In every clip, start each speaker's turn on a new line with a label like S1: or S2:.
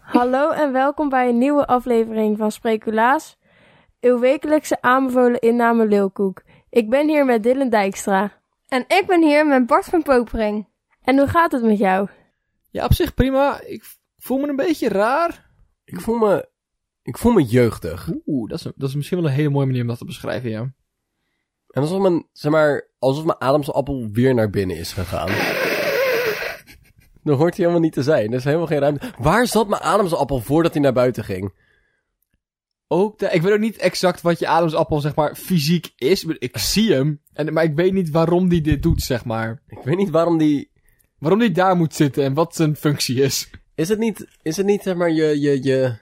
S1: Hallo en welkom bij een nieuwe aflevering van Spreculaas, uw wekelijkse aanbevolen inname Leeuwkoek. Ik ben hier met Dylan Dijkstra.
S2: En ik ben hier met Bart van Popering.
S1: En hoe gaat het met jou?
S3: Ja, op zich prima. Ik voel me een beetje raar.
S4: Ik voel me, ik voel me jeugdig. En
S3: Oeh, dat is, dat is misschien wel een hele mooie manier om dat te beschrijven, ja.
S4: alsof mijn, zeg maar, alsof mijn ademsappel weer naar binnen is gegaan. Dan hoort hij helemaal niet te zijn. Er is helemaal geen ruimte. Waar zat mijn ademsappel voordat hij naar buiten ging?
S3: Ook de- ik weet ook niet exact wat je ademsappel, zeg maar, fysiek is. Maar Ik zie hem, en, maar ik weet niet waarom die dit doet, zeg maar.
S4: Ik weet niet waarom die...
S3: Waarom die daar moet zitten en wat zijn functie is.
S4: Is het niet, is het niet zeg maar, je, je, je...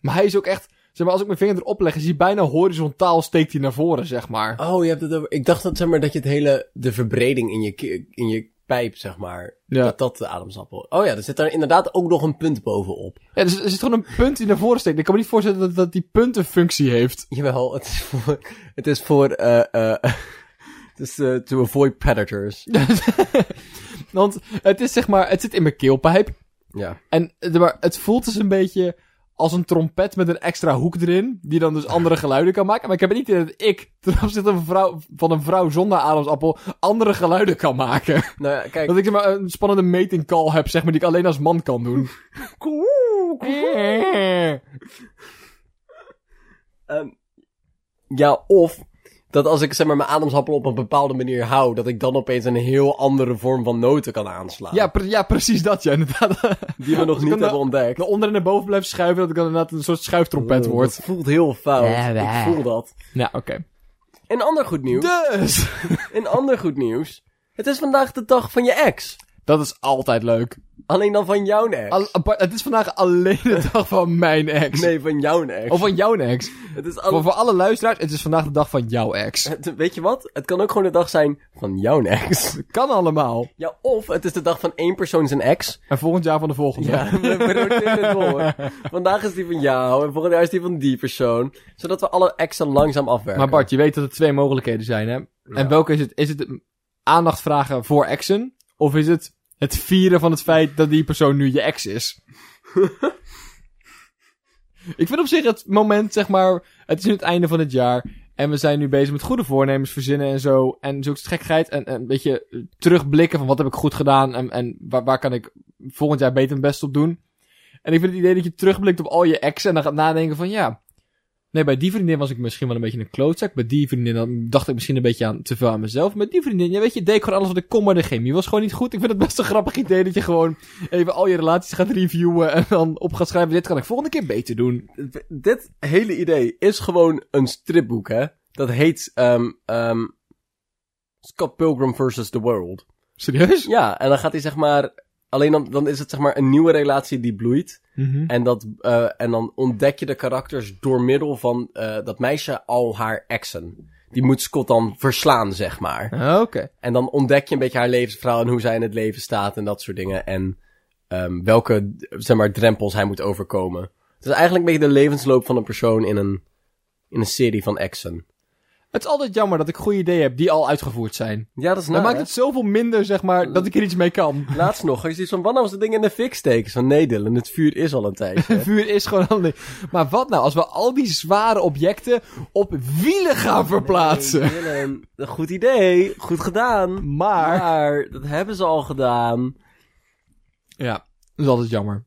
S3: Maar hij is ook echt, zeg maar, als ik mijn vinger erop leg, is hij bijna horizontaal steekt hij naar voren, zeg maar.
S4: Oh, je hebt het over... Ik dacht dat, zeg maar, dat je het hele... De verbreding in je, ki- in je pijp, zeg maar.
S3: Ja.
S4: Dat dat de ademsappel... Oh ja, er zit daar inderdaad ook nog een punt bovenop.
S3: Ja, dus er zit gewoon een punt die naar voren steekt. Ik kan me niet voorstellen dat, dat die punt een functie heeft.
S4: Jawel, het is voor... Het is voor... eh, eh, het is eh, to avoid predators.
S3: Want het is, zeg maar, het zit in mijn keelpijp.
S4: Ja.
S3: En eh, maar het voelt dus een beetje als een trompet met een extra hoek erin, die dan dus andere geluiden kan maken. Maar ik heb het niet idee dat ik, ten opzichte van een vrouw, van een vrouw zonder ademsappel, andere geluiden kan maken.
S4: Nou ja, kijk.
S3: Dat ik zeg maar een spannende mating call heb, zeg maar, die ik alleen als man kan doen.
S4: ehm, ja, of dat als ik zeg maar mijn ademsappel op een bepaalde manier hou, dat ik dan opeens een heel andere vorm van noten kan aanslaan.
S3: Ja, pre- ja, precies dat, ja, inderdaad.
S4: die we nog
S3: ik
S4: niet
S3: kan
S4: hebben
S3: de-
S4: ontdekt.
S3: Naar onder en naar boven blijven schuiven, dat ik dan inderdaad een soort schuiftrompet
S4: Oh,
S3: word.
S4: Dat voelt heel fout. Ik voel dat.
S3: Ja, oké.
S4: En ander goed nieuws.
S3: Dus!
S4: En ander goed nieuws. Het is vandaag de dag van je ex.
S3: Dat is altijd leuk.
S4: Alleen dan van jouw ex.
S3: Al- apart- het is vandaag alleen de dag van mijn ex.
S4: nee, van jouw ex.
S3: Of van jouw ex.
S4: het is
S3: Voor,
S4: alle...
S3: voor alle luisteraars, het is vandaag de dag van jouw ex.
S4: het- Weet je wat? Het kan ook gewoon de dag zijn van jouw ex.
S3: Kan allemaal.
S4: Ja, of het is de dag van één persoon zijn ex.
S3: En volgend jaar van de volgende.
S4: Ja, we we roteren het door. Vandaag is die van jou en volgend jaar is die van die persoon. Zodat we alle exen langzaam afwerken.
S3: Maar Bart, je weet dat er twee mogelijkheden zijn, hè? En welke is het? Is het aandacht vragen voor exen? Of is het het vieren van het feit dat die persoon nu je ex is? Ik vind op zich het moment, zeg maar, het is nu het einde van het jaar. En we zijn nu bezig met goede voornemens verzinnen en zo. En zulke gekkigheid. En, en een beetje eh, terugblikken van wat heb ik goed gedaan. En, en waar, waar kan ik volgend jaar beter mijn best op doen. En ik vind het idee dat je terugblikt op al je exen. En dan gaat nadenken van ja. Nee, bij die vriendin was ik misschien wel een beetje een klootzak. Bij die vriendin dan dacht ik misschien een beetje aan, te veel aan mezelf. Maar die vriendin, ja, weet je, deed ik gewoon alles wat ik kon, maar de chemie was gewoon niet goed. Ik vind het best een grappig idee dat je gewoon even al je relaties gaat reviewen en dan op gaat schrijven, dit kan ik volgende keer beter doen.
S4: dit hele idee is gewoon een stripboek, hè? Dat heet ehm ehm, Scott Pilgrim vs. The World.
S3: Serieus?
S4: Ja, en dan gaat hij zeg maar... Alleen dan, dan is het zeg maar een nieuwe relatie die bloeit. En, dat, eh, en dan ontdek je de karakters door middel van eh, dat meisje al haar exen. Die moet Scott dan verslaan, zeg maar.
S3: Ah, Oké.
S4: En dan ontdek je een beetje haar levensverhaal en hoe zij in het leven staat en dat soort dingen. En ehm, welke, zeg maar, drempels hij moet overkomen. Het is eigenlijk een beetje de levensloop van een persoon in een, in een serie van exen.
S3: Het is altijd jammer dat ik goede ideeën heb die al uitgevoerd zijn.
S4: Ja, dat is
S3: Dan
S4: naar,
S3: maakt het zoveel minder, zeg maar, dat ik er iets mee kan.
S4: Laatst nog, als je van, wanneer was dat ding in de fik steken? Zo, nee Dylan, het vuur is al een tijdje.
S3: Vuur is gewoon al niet. Maar wat nou als we al die zware objecten op wielen gaan verplaatsen?
S4: Hey, Dylan, een goed idee, goed gedaan.
S3: Maar...
S4: Maar, dat hebben ze al gedaan.
S3: Ja, dat is altijd jammer.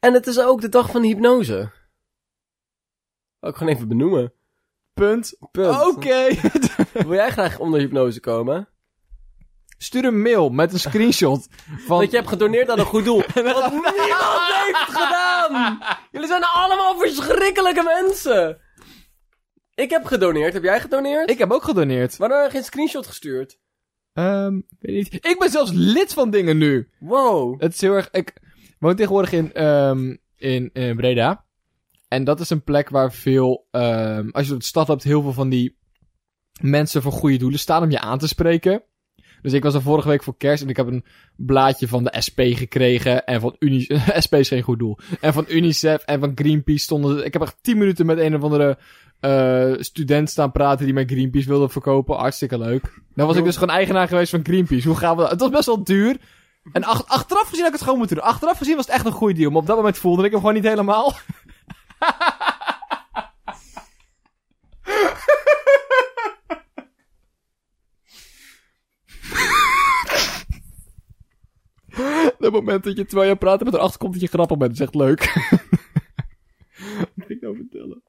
S4: En het is ook de dag van hypnose. Ook gewoon even benoemen.
S3: Punt.
S4: Punt.
S3: Oké.
S4: Wil jij graag onder hypnose komen?
S3: Stuur een mail met een screenshot van...
S4: Dat je hebt gedoneerd aan een goed doel. Wat niemand heeft het gedaan! Jullie zijn allemaal verschrikkelijke mensen! Ik heb gedoneerd, heb jij gedoneerd?
S3: Ik heb ook gedoneerd.
S4: Waarom heb je geen screenshot gestuurd?
S3: Ehm, weet niet. Ik ben zelfs lid van dingen nu.
S4: Wow.
S3: Het is heel erg... Ik woon tegenwoordig in, ehm, in, eh, Breda. En dat is een plek waar veel... ehm, als je door de stad loopt, heel veel van die mensen voor goede doelen staan om je aan te spreken. Dus ik was er vorige week voor kerst en ik heb een blaadje van de SP gekregen. En van UNICEF... SP is geen goed doel. En van UNICEF en van Greenpeace stonden... ze- Ik heb echt tien minuten met een of andere eh, student staan praten die mij Greenpeace wilde verkopen. Hartstikke leuk. Dan was ik dus gewoon eigenaar geweest van Greenpeace. Hoe gaan we dat? Het was best wel duur. En ach- achteraf gezien had ik het gewoon moeten doen. Achteraf gezien was het echt een goede deal. Maar op dat moment voelde ik hem gewoon niet helemaal. dat moment dat je terwijl je praat met erachter komt dat je grappig bent. Dat is echt leuk. Wat ik nou vertellen?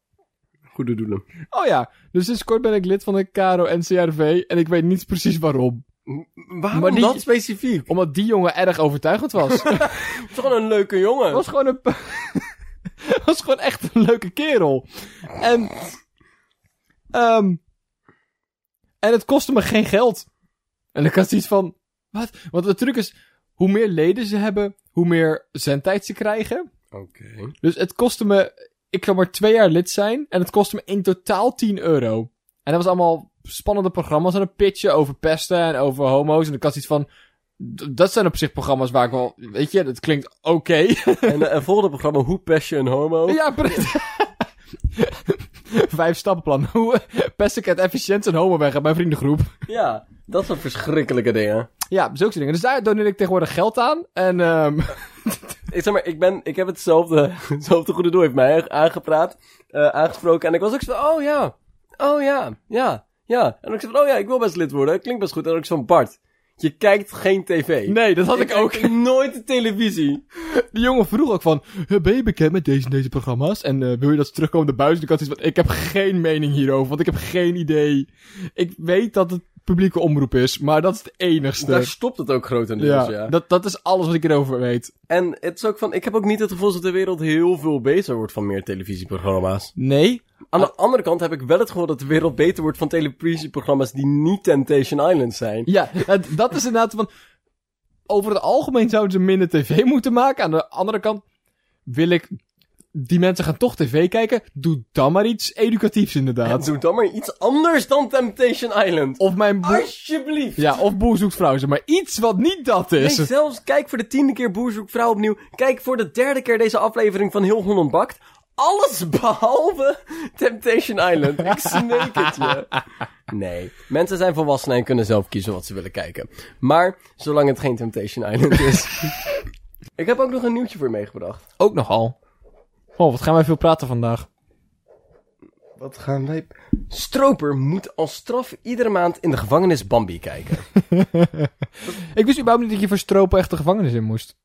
S4: Goede doelen.
S3: Oh ja, dus sinds kort ben ik lid van de KRO-NCRV en ik weet niet precies waarom.
S4: Waarom
S3: Maar die-
S4: dat specifiek?
S3: Omdat die jongen erg overtuigend was.
S4: Het is gewoon een leuke jongen.
S3: was gewoon een. p- was gewoon echt een leuke kerel. En. ehm, en het kostte me geen geld. En ik had iets van. Wat? Want de truc is. Hoe meer leden ze hebben, hoe meer zendtijd ze krijgen.
S4: Oké.
S3: Dus het kostte me. Ik zou maar twee jaar lid zijn. En het kostte me in totaal 10 euro. En dat was allemaal spannende programma's. En een pitje over pesten en over homo's. En ik had iets van. d- Dat zijn op zich programma's waar ik wel. Weet je, dat klinkt oké.
S4: En eh, een volgende programma, Hoe Pest je een homo?
S3: Ja, precies. Vijf stappenplan. Hoe pest ik het efficiënt een homo weg uit mijn vriendengroep?
S4: Ja, dat zijn verschrikkelijke dingen.
S3: Ja, zulke soort dingen. Dus daar doneer ik tegenwoordig geld aan. En ehm
S4: Ik zeg maar, ik, ben, ik heb hetzelfde, hetzelfde goede doel heeft mij aangepraat, eh, aangesproken. En ik was ook zo van, oh ja, oh ja, ja, ja. En ik zei van, oh ja, ik wil best lid worden. Klinkt best goed. En ook zo'n Bart, je kijkt geen tv.
S3: nee, dat had ik
S4: kijk
S3: ook.
S4: nooit de televisie.
S3: Die jongen vroeg ook van, "Eh, ben je bekend met deze en deze programma's? En eh, wil je dat ze terugkomen op de buis? En ik had iets van, ik heb geen mening hierover, want ik heb geen idee. Ik weet dat het publieke omroep is, maar dat is het enigste.
S4: Daar stopt het ook grotendeels,
S3: ja,
S4: ja. ja.
S3: Dat, dat is alles wat ik erover weet.
S4: En het is ook van, ik heb ook niet het gevoel dat de wereld heel veel beter wordt van meer televisieprogramma's.
S3: Nee,
S4: Aan de andere kant heb ik wel het gevoel dat de wereld beter wordt van televisieprogramma's die niet Temptation Island zijn.
S3: Ja, het- dat is inderdaad van... Over het algemeen zouden ze minder tv moeten maken. Aan de andere kant wil ik... Die mensen gaan toch tv kijken. Doe dan maar iets educatiefs
S4: Ja,
S3: inderdaad.
S4: doe dan maar iets anders dan Temptation Island.
S3: Of mijn boer...
S4: Alsjeblieft.
S3: Ja, of boer zoekt vrouw. zeg Maar iets wat niet dat
S4: Nee,
S3: is.
S4: zelfs kijk voor de tiende keer Boer zoekt vrouw opnieuw. Kijk voor de derde keer deze aflevering van Heel Holland Bakt. Alles behalve Temptation Island. Ik smeek het je. Nee, mensen zijn volwassenen en kunnen zelf kiezen wat ze willen kijken. Maar zolang het geen Temptation Island is. ik heb ook nog een nieuwtje voor je meegebracht.
S3: Ook nogal. Oh, wat gaan wij veel praten vandaag.
S4: Wat gaan wij... Stroper moet als straf iedere maand in de gevangenis Bambi kijken.
S3: Ik wist überhaupt niet dat je voor stropen echt de gevangenis in moest.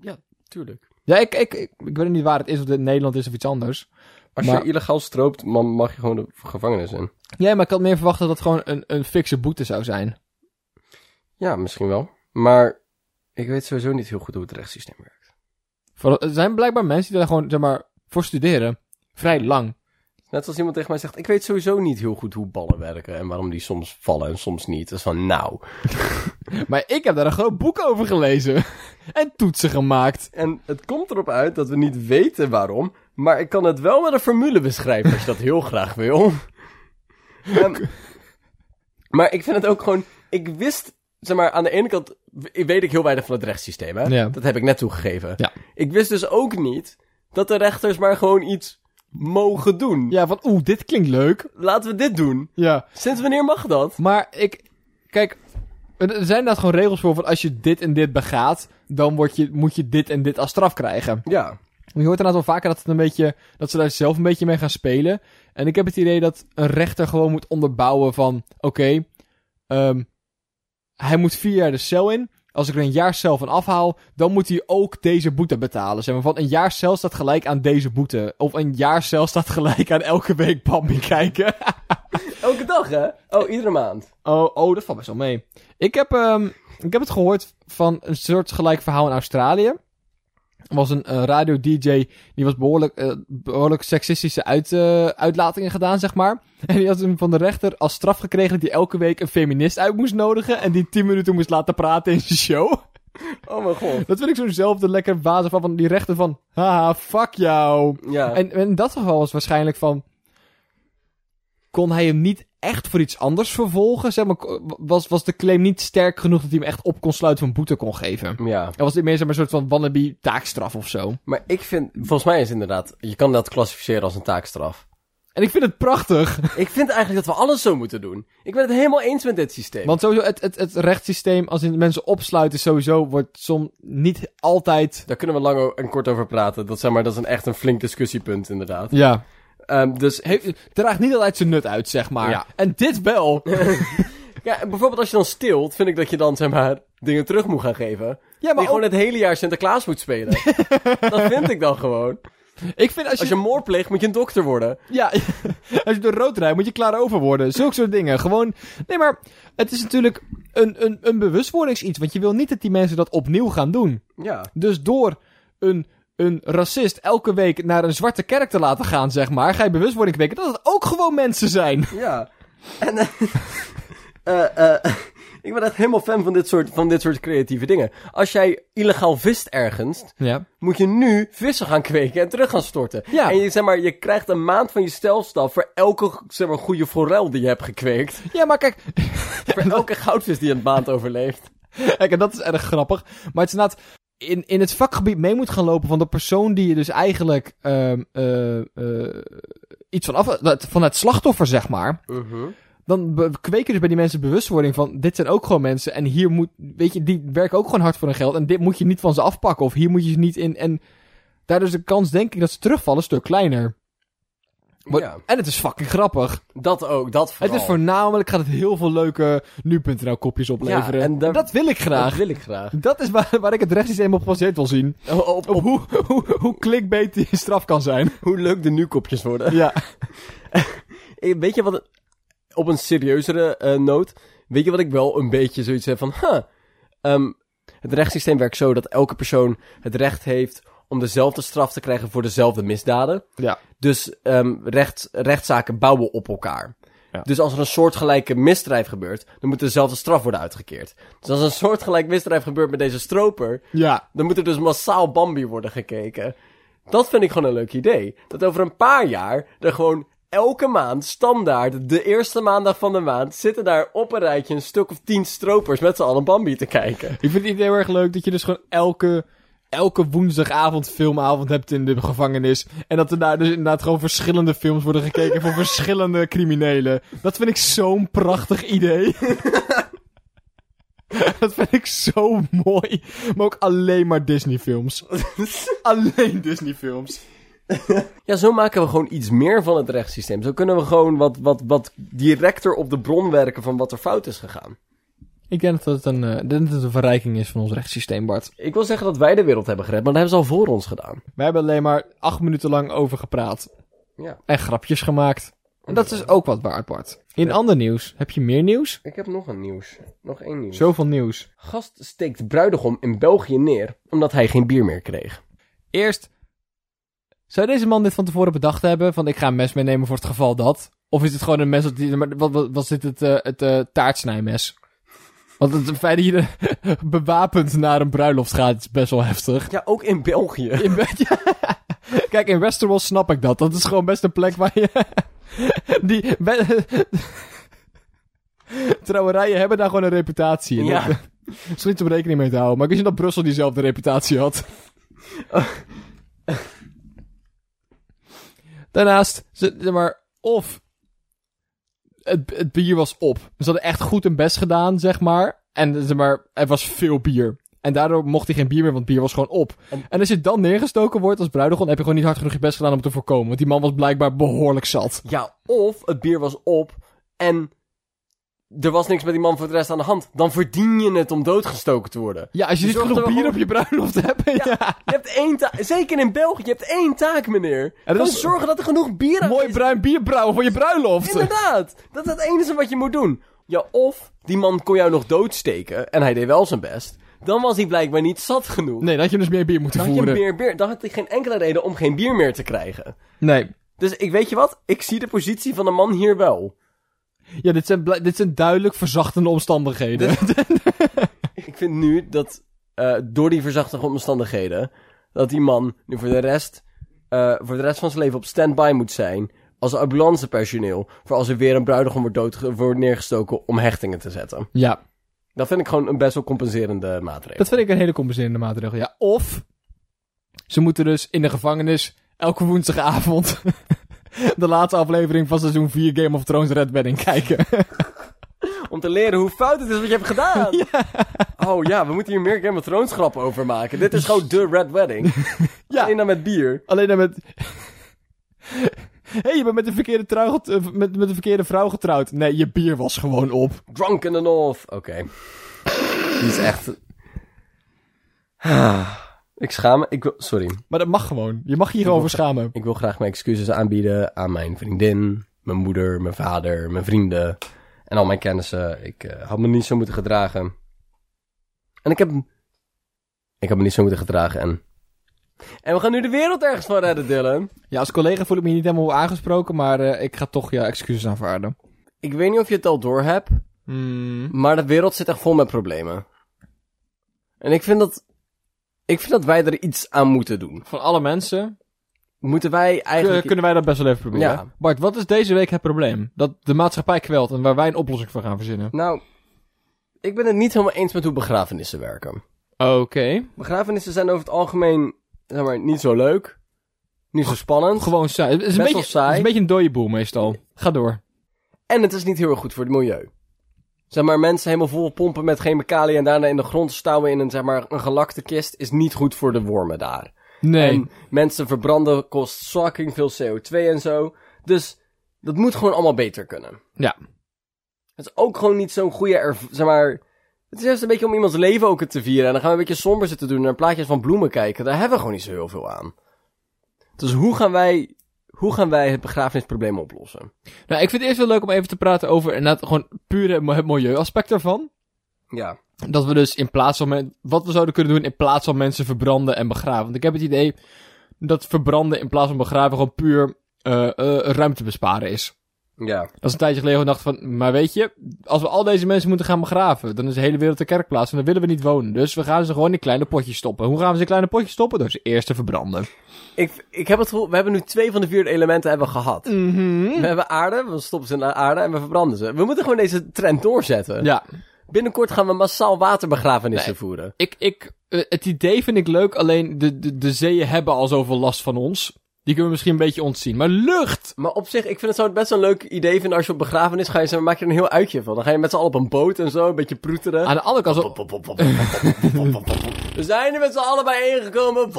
S4: Ja, tuurlijk.
S3: Ja, ik, ik, ik, ik weet niet waar het is. Of dit in Nederland is of iets anders.
S4: Als
S3: Maar-
S4: je illegaal stroopt, man, mag je gewoon de gevangenis in.
S3: Ja, maar ik had meer verwacht dat dat gewoon een, een fikse boete zou zijn.
S4: Ja, misschien wel. Maar ik weet sowieso niet heel goed hoe het rechtssysteem werkt.
S3: Voor, er zijn blijkbaar mensen die daar gewoon, zeg maar, voor studeren. Vrij lang.
S4: Net als iemand tegen mij zegt, ik weet sowieso niet heel goed hoe ballen werken en waarom die soms vallen en soms niet. Dat is van, nou.
S3: Maar ik heb daar een groot boek over gelezen. En toetsen gemaakt.
S4: En het komt erop uit dat we niet weten waarom, maar ik kan het wel met een formule beschrijven als je dat heel graag wil. Ehm, maar ik vind het ook gewoon, ik wist, zeg maar, aan de ene kant w- weet ik heel weinig van het rechtssysteem, hè?
S3: Ja.
S4: Dat heb ik net toegegeven.
S3: Ja.
S4: Ik wist dus ook niet dat de rechters maar gewoon iets mogen doen.
S3: Ja, van oeh, dit klinkt leuk.
S4: Laten we dit doen.
S3: Ja.
S4: Sinds wanneer mag dat?
S3: Maar ik, kijk, er er zijn daar gewoon regels voor van als je dit en dit begaat, dan word je, moet je dit en dit als straf krijgen.
S4: Ja.
S3: Je hoort inderdaad wel vaker dat, het een beetje, dat ze daar zelf een beetje mee gaan spelen. En ik heb het idee dat een rechter gewoon moet onderbouwen van... Oké, ehm, hij moet vier jaar de cel in. Als ik er een jaar cel van afhaal, dan moet hij ook deze boete betalen. Zeg maar, van een jaar cel staat gelijk aan deze boete. Of een jaar cel staat gelijk aan elke week Bambi kijken.
S4: Elke dag, hè? Oh, iedere maand.
S3: Oh, oh, dat valt best wel mee. Ik heb, ehm, ik heb het gehoord van een soort gelijk verhaal in Australië. Er was een radio-dj, die was behoorlijk, eh, behoorlijk seksistische uit, eh, uitlatingen gedaan, zeg maar. En die had hem van de rechter als straf gekregen dat hij elke week een feminist uit moest nodigen. En die tien minuten moest laten praten in zijn show.
S4: Oh mijn god.
S3: Dat vind ik zo'nzelfde lekker basis van, van die rechter van, haha, fuck jou.
S4: Ja.
S3: En en in dat geval was waarschijnlijk van. Kon hij hem niet echt voor iets anders vervolgen? Zeg maar, ko- was, was de claim niet sterk genoeg dat hij hem echt op kon sluiten van boete kon geven?
S4: Ja.
S3: En was dit meer zeg maar, een soort van wannabe taakstraf of zo?
S4: Maar ik vind, volgens mij is inderdaad, je kan dat klassificeren als een taakstraf.
S3: En ik vind het prachtig.
S4: Ik vind eigenlijk dat we alles zo moeten doen. Ik ben het helemaal eens met dit systeem.
S3: Want sowieso, het, het, het rechtssysteem, als in mensen opsluiten, sowieso wordt soms niet altijd...
S4: Daar kunnen we lang o- en kort over praten. Dat, zeg maar, dat is een, echt een flink discussiepunt, inderdaad.
S3: Ja.
S4: Ehm, dus
S3: Heeft, draagt niet altijd zijn nut uit, zeg maar.
S4: Ja.
S3: En dit wel.
S4: ja, en bijvoorbeeld als je dan stilt, vind ik dat je dan zeg maar, dingen terug moet gaan geven.
S3: Ja,
S4: die
S3: maar
S4: gewoon
S3: ook,
S4: het hele jaar Sinterklaas moet spelen. dat vind ik dan gewoon.
S3: ik vind als je,
S4: Als je moord pleegt, moet je een dokter worden.
S3: ja, als je door rood rijdt, moet je klaar over worden. Zulke soort dingen. Gewoon, nee, maar het is natuurlijk een, een, een bewustwordingsiets. Want je wil niet dat die mensen dat opnieuw gaan doen.
S4: Ja.
S3: Dus door een, een racist elke week naar een zwarte kerk te laten gaan, zeg maar, ga je bewustwording kweken dat het ook gewoon mensen zijn.
S4: Ja. En, eh, eh, eh, ik ben echt helemaal fan van dit, soort, van dit soort creatieve dingen. Als jij illegaal vist ergens,
S3: Ja.
S4: moet je nu vissen gaan kweken en terug gaan storten.
S3: Ja.
S4: En je, zeg maar, je krijgt een maand van je stelstaf voor elke zeg maar, goede forel die je hebt gekweekt.
S3: Ja, maar kijk,
S4: Voor elke goudvis die een maand overleeft.
S3: Kijk, en dat is erg grappig. Maar het is inderdaad in, in het vakgebied mee moet gaan lopen van de persoon die je dus eigenlijk ehm, eh, eh, iets van af... dat- van het slachtoffer, zeg maar. Dan be- kweken dus bij die mensen bewustwording van... dit zijn ook gewoon mensen en hier moet... weet je, die werken ook gewoon hard voor hun geld... en dit moet je niet van ze afpakken of hier moet je ze niet in... en daardoor is de kans, denk ik, dat ze terugvallen een stuk kleiner. Maar-
S4: Ja. Oh.
S3: En het is fucking grappig.
S4: Dat ook, dat vooral.
S3: Het is voornamelijk gaat het heel veel leuke nu.nl kopjes opleveren.
S4: en daar-
S3: dat wil ik graag.
S4: Dat wil ik graag.
S3: Dat is waar, waar ik het rechtssysteem op gebaseerd wil zien.
S4: O- Op,
S3: Op
S4: op
S3: hoe, hoe, hoe clickbait die straf kan zijn.
S4: hoe leuk de nu-kopjes worden.
S3: Ja.
S4: Eh, Weet je wat... Op een serieuzere eh, noot... Weet je wat ik wel een beetje zoiets heb van... Huh, ehm, het rechtssysteem werkt zo dat elke persoon het recht heeft... om dezelfde straf te krijgen voor dezelfde misdaden.
S3: Ja.
S4: Dus ehm, recht, rechtszaken bouwen op elkaar.
S3: Ja.
S4: Dus als er een soortgelijke misdrijf gebeurt... dan moet dezelfde straf worden uitgekeerd. Dus als een soortgelijk misdrijf gebeurt met deze stroper...
S3: Ja.
S4: Dan moet er dus massaal Bambi worden gekeken. Dat vind ik gewoon een leuk idee. Dat over een paar jaar er gewoon elke maand standaard, de eerste maandag van de maand, zitten daar op een rijtje een stuk of tien stropers met z'n allen Bambi te kijken.
S3: Ik vind het idee heel erg leuk dat je dus gewoon elke, elke woensdagavond filmavond hebt in de gevangenis. En dat er daar dus inderdaad gewoon verschillende films worden gekeken voor verschillende criminelen. Dat vind ik zo'n prachtig idee. Dat vind ik zo mooi. Maar ook alleen maar Disney films. Alleen Disney films.
S4: Ja, zo maken we gewoon iets meer van het rechtssysteem. Zo kunnen we gewoon wat, wat, wat directer op de bron werken van wat er fout is gegaan.
S3: Ik denk dat het een, eh, ik denk dat het een verrijking is van ons rechtssysteem, Bart.
S4: Ik wil zeggen dat wij de wereld hebben gered, maar dat hebben ze al voor ons gedaan.
S3: Wij hebben alleen maar acht minuten lang over gepraat.
S4: Ja.
S3: En grapjes gemaakt. En dat is dus ook wat waard, Bart. In ander nieuws. Heb je meer nieuws?
S4: Ik heb nog een nieuws. Nog één nieuws.
S3: Zoveel nieuws.
S4: Gast steekt bruidegom in België neer omdat hij geen bier meer kreeg.
S3: Eerst. Zou deze man dit van tevoren bedacht hebben? Van ik ga een mes meenemen voor het geval dat. Of is het gewoon een mes dat die. maar Wat, wat, wat zit het, eh, het eh, taartsnijmes? Want het feit dat je er bewapend naar een bruiloft gaat is best wel heftig.
S4: Ja, ook in België.
S3: In bed, ja. Kijk, in Westeros snap ik dat. Dat is gewoon best een plek waar je... Die... be- Trouwerijen hebben daar gewoon een reputatie in.
S4: Ja.
S3: Dat is niet om rekening mee te houden. Maar ik wist niet dat Brussel diezelfde reputatie had. Daarnaast, ze- zeg maar, of het, het bier was op. Ze hadden echt goed hun best gedaan, zeg maar. En zeg maar, er was veel bier. En daardoor mocht hij geen bier meer, want bier was gewoon op. En als je dan neergestoken wordt als bruidegom, heb je gewoon niet hard genoeg je best gedaan om te voorkomen. Want die man was blijkbaar behoorlijk zat.
S4: Ja, of het bier was op en er was niks met die man voor de rest aan de hand. Dan verdien je het om doodgestoken te worden.
S3: Ja, als je
S4: Je
S3: niet
S4: zorgt
S3: genoeg
S4: er
S3: bier
S4: wel-
S3: op je bruiloft hebt. Ja.
S4: Je hebt één taak, zeker in België, je hebt één taak, meneer.
S3: dat
S4: Gewoon
S3: is-
S4: zorgen dat er genoeg bier aan
S3: Mooi
S4: is.
S3: bruin bier brouwen voor je bruiloft.
S4: Inderdaad, dat is het enige wat je moet doen. Ja, of die man kon jou nog doodsteken en hij deed wel zijn best. Dan was hij blijkbaar niet zat genoeg.
S3: Nee, dan had je dus meer bier moeten
S4: Dan had, je
S3: voeren.
S4: meer bier, dan had hij geen enkele reden om geen bier meer te krijgen.
S3: Nee.
S4: Dus ik weet je wat, ik zie de positie van de man hier wel.
S3: Ja, dit zijn, bla- dit zijn duidelijk verzachtende omstandigheden.
S4: Ik vind nu dat eh, door die verzachte omstandigheden... dat die man nu voor de rest, eh, voor de rest van zijn leven op standby moet zijn... als ambulancepersoneel... voor als er weer een bruidegom wordt, doodge- wordt neergestoken om hechtingen te zetten.
S3: Ja,
S4: Dat vind ik gewoon een best wel compenserende maatregel.
S3: dat vind ik een hele compenserende maatregel. Ja, of ze moeten dus in de gevangenis elke woensdagavond de laatste aflevering van seizoen 4 Game of Thrones Red Wedding kijken.
S4: Om te leren hoe fout het is wat je hebt gedaan. Oh ja, we moeten hier meer Game of Thrones grappen over maken. Dit is gewoon de Red Wedding.
S3: Ja.
S4: ja. Alleen dan met bier.
S3: Alleen dan met... Hé, hey, je bent met de, verkeerde trouw get- eh, met, met de verkeerde vrouw getrouwd. Nee, je bier was gewoon op.
S4: Drunk in the North. Oké. Die is echt... Ik schaam me. Ik wil... Sorry.
S3: Maar dat mag gewoon. Je mag hier gewoon voor schamen.
S4: Ik wil graag mijn excuses aanbieden aan mijn vriendin, mijn moeder, mijn vader, mijn vrienden en al mijn kennissen. Ik eh, had me niet zo moeten gedragen. En ik heb... Ik heb me niet zo moeten gedragen en... En we gaan nu de wereld ergens van redden, Dylan.
S3: Ja, als collega voel ik me hier niet helemaal aangesproken, maar eh, ik ga toch ja, excuses aanvaarden.
S4: Ik weet niet of je het al door hebt,
S3: Hmm.
S4: maar de wereld zit echt vol met problemen. En ik vind dat... Ik vind dat wij er iets aan moeten doen.
S3: Van alle mensen
S4: Moeten wij eigenlijk...
S3: kunnen wij dat best wel even proberen.
S4: Ja.
S3: Bart, wat is deze week het probleem? Dat de maatschappij kwelt en waar wij een oplossing voor gaan verzinnen.
S4: Nou, ik ben het niet helemaal eens met hoe begrafenissen werken.
S3: Oké.
S4: Begrafenissen zijn over het algemeen zeg maar, niet zo leuk. Niet zo spannend.
S3: Gewoon saai. Het is, een
S4: Best wel
S3: beetje,
S4: saai.
S3: het is een beetje een dode boel meestal. Ga door.
S4: En het is niet heel erg goed voor het milieu. Zeg maar, mensen helemaal vol pompen met chemicaliën en daarna in de grond stouwen in een, zeg maar, een gelakte kist is niet goed voor de wormen daar.
S3: Nee.
S4: En mensen verbranden kost fucking veel CO2 en zo. Dus dat moet gewoon allemaal beter kunnen.
S3: Ja.
S4: Het is ook gewoon niet zo'n goede erv- zeg maar... Het is juist een beetje om iemands leven ook te vieren. En dan gaan we een beetje somber zitten doen en naar plaatjes van bloemen kijken. Daar hebben we gewoon niet zo heel veel aan. Dus hoe gaan wij, hoe gaan wij het begrafenisprobleem oplossen?
S3: Nou, ik vind het eerst wel leuk om even te praten over inderdaad gewoon puur het mo- het milieuaspect daarvan.
S4: Ja.
S3: Dat we dus in plaats van... men- Wat we zouden kunnen doen in plaats van mensen verbranden en begraven. Want ik heb het idee dat verbranden in plaats van begraven gewoon puur eh, eh, ruimte besparen is.
S4: Ja.
S3: Dat is een tijdje geleden dacht van, maar weet je, als we al deze mensen moeten gaan begraven, dan is de hele wereld een kerkplaats en daar willen we niet wonen. Dus we gaan ze gewoon in kleine potjes stoppen. Hoe gaan we ze in kleine potjes stoppen? Door ze eerst te verbranden.
S4: Ik, ik heb het gevoel, we hebben nu twee van de vier elementen hebben we gehad.
S3: Mm.
S4: We hebben aarde, we stoppen ze in de aarde en we verbranden ze. We moeten gewoon deze trend doorzetten.
S3: Ja,
S4: Binnenkort gaan we massaal waterbegrafenissen
S3: Nee.
S4: voeren.
S3: ik, ik, eh, het idee vind ik leuk, alleen de, de, de zeeën hebben al zoveel last van ons. Die kunnen we misschien een beetje ontzien. Maar lucht!
S4: Maar op zich, ik vind het zo best wel een leuk idee vinden als je op begrafenis gaat. Je zeg maar, maak je er een heel uitje van. Dan ga je met z'n allen op een boot en zo, een beetje proeteren.
S3: Aan de andere kant, zo-
S4: We zijn er met z'n allen bijeengekomen.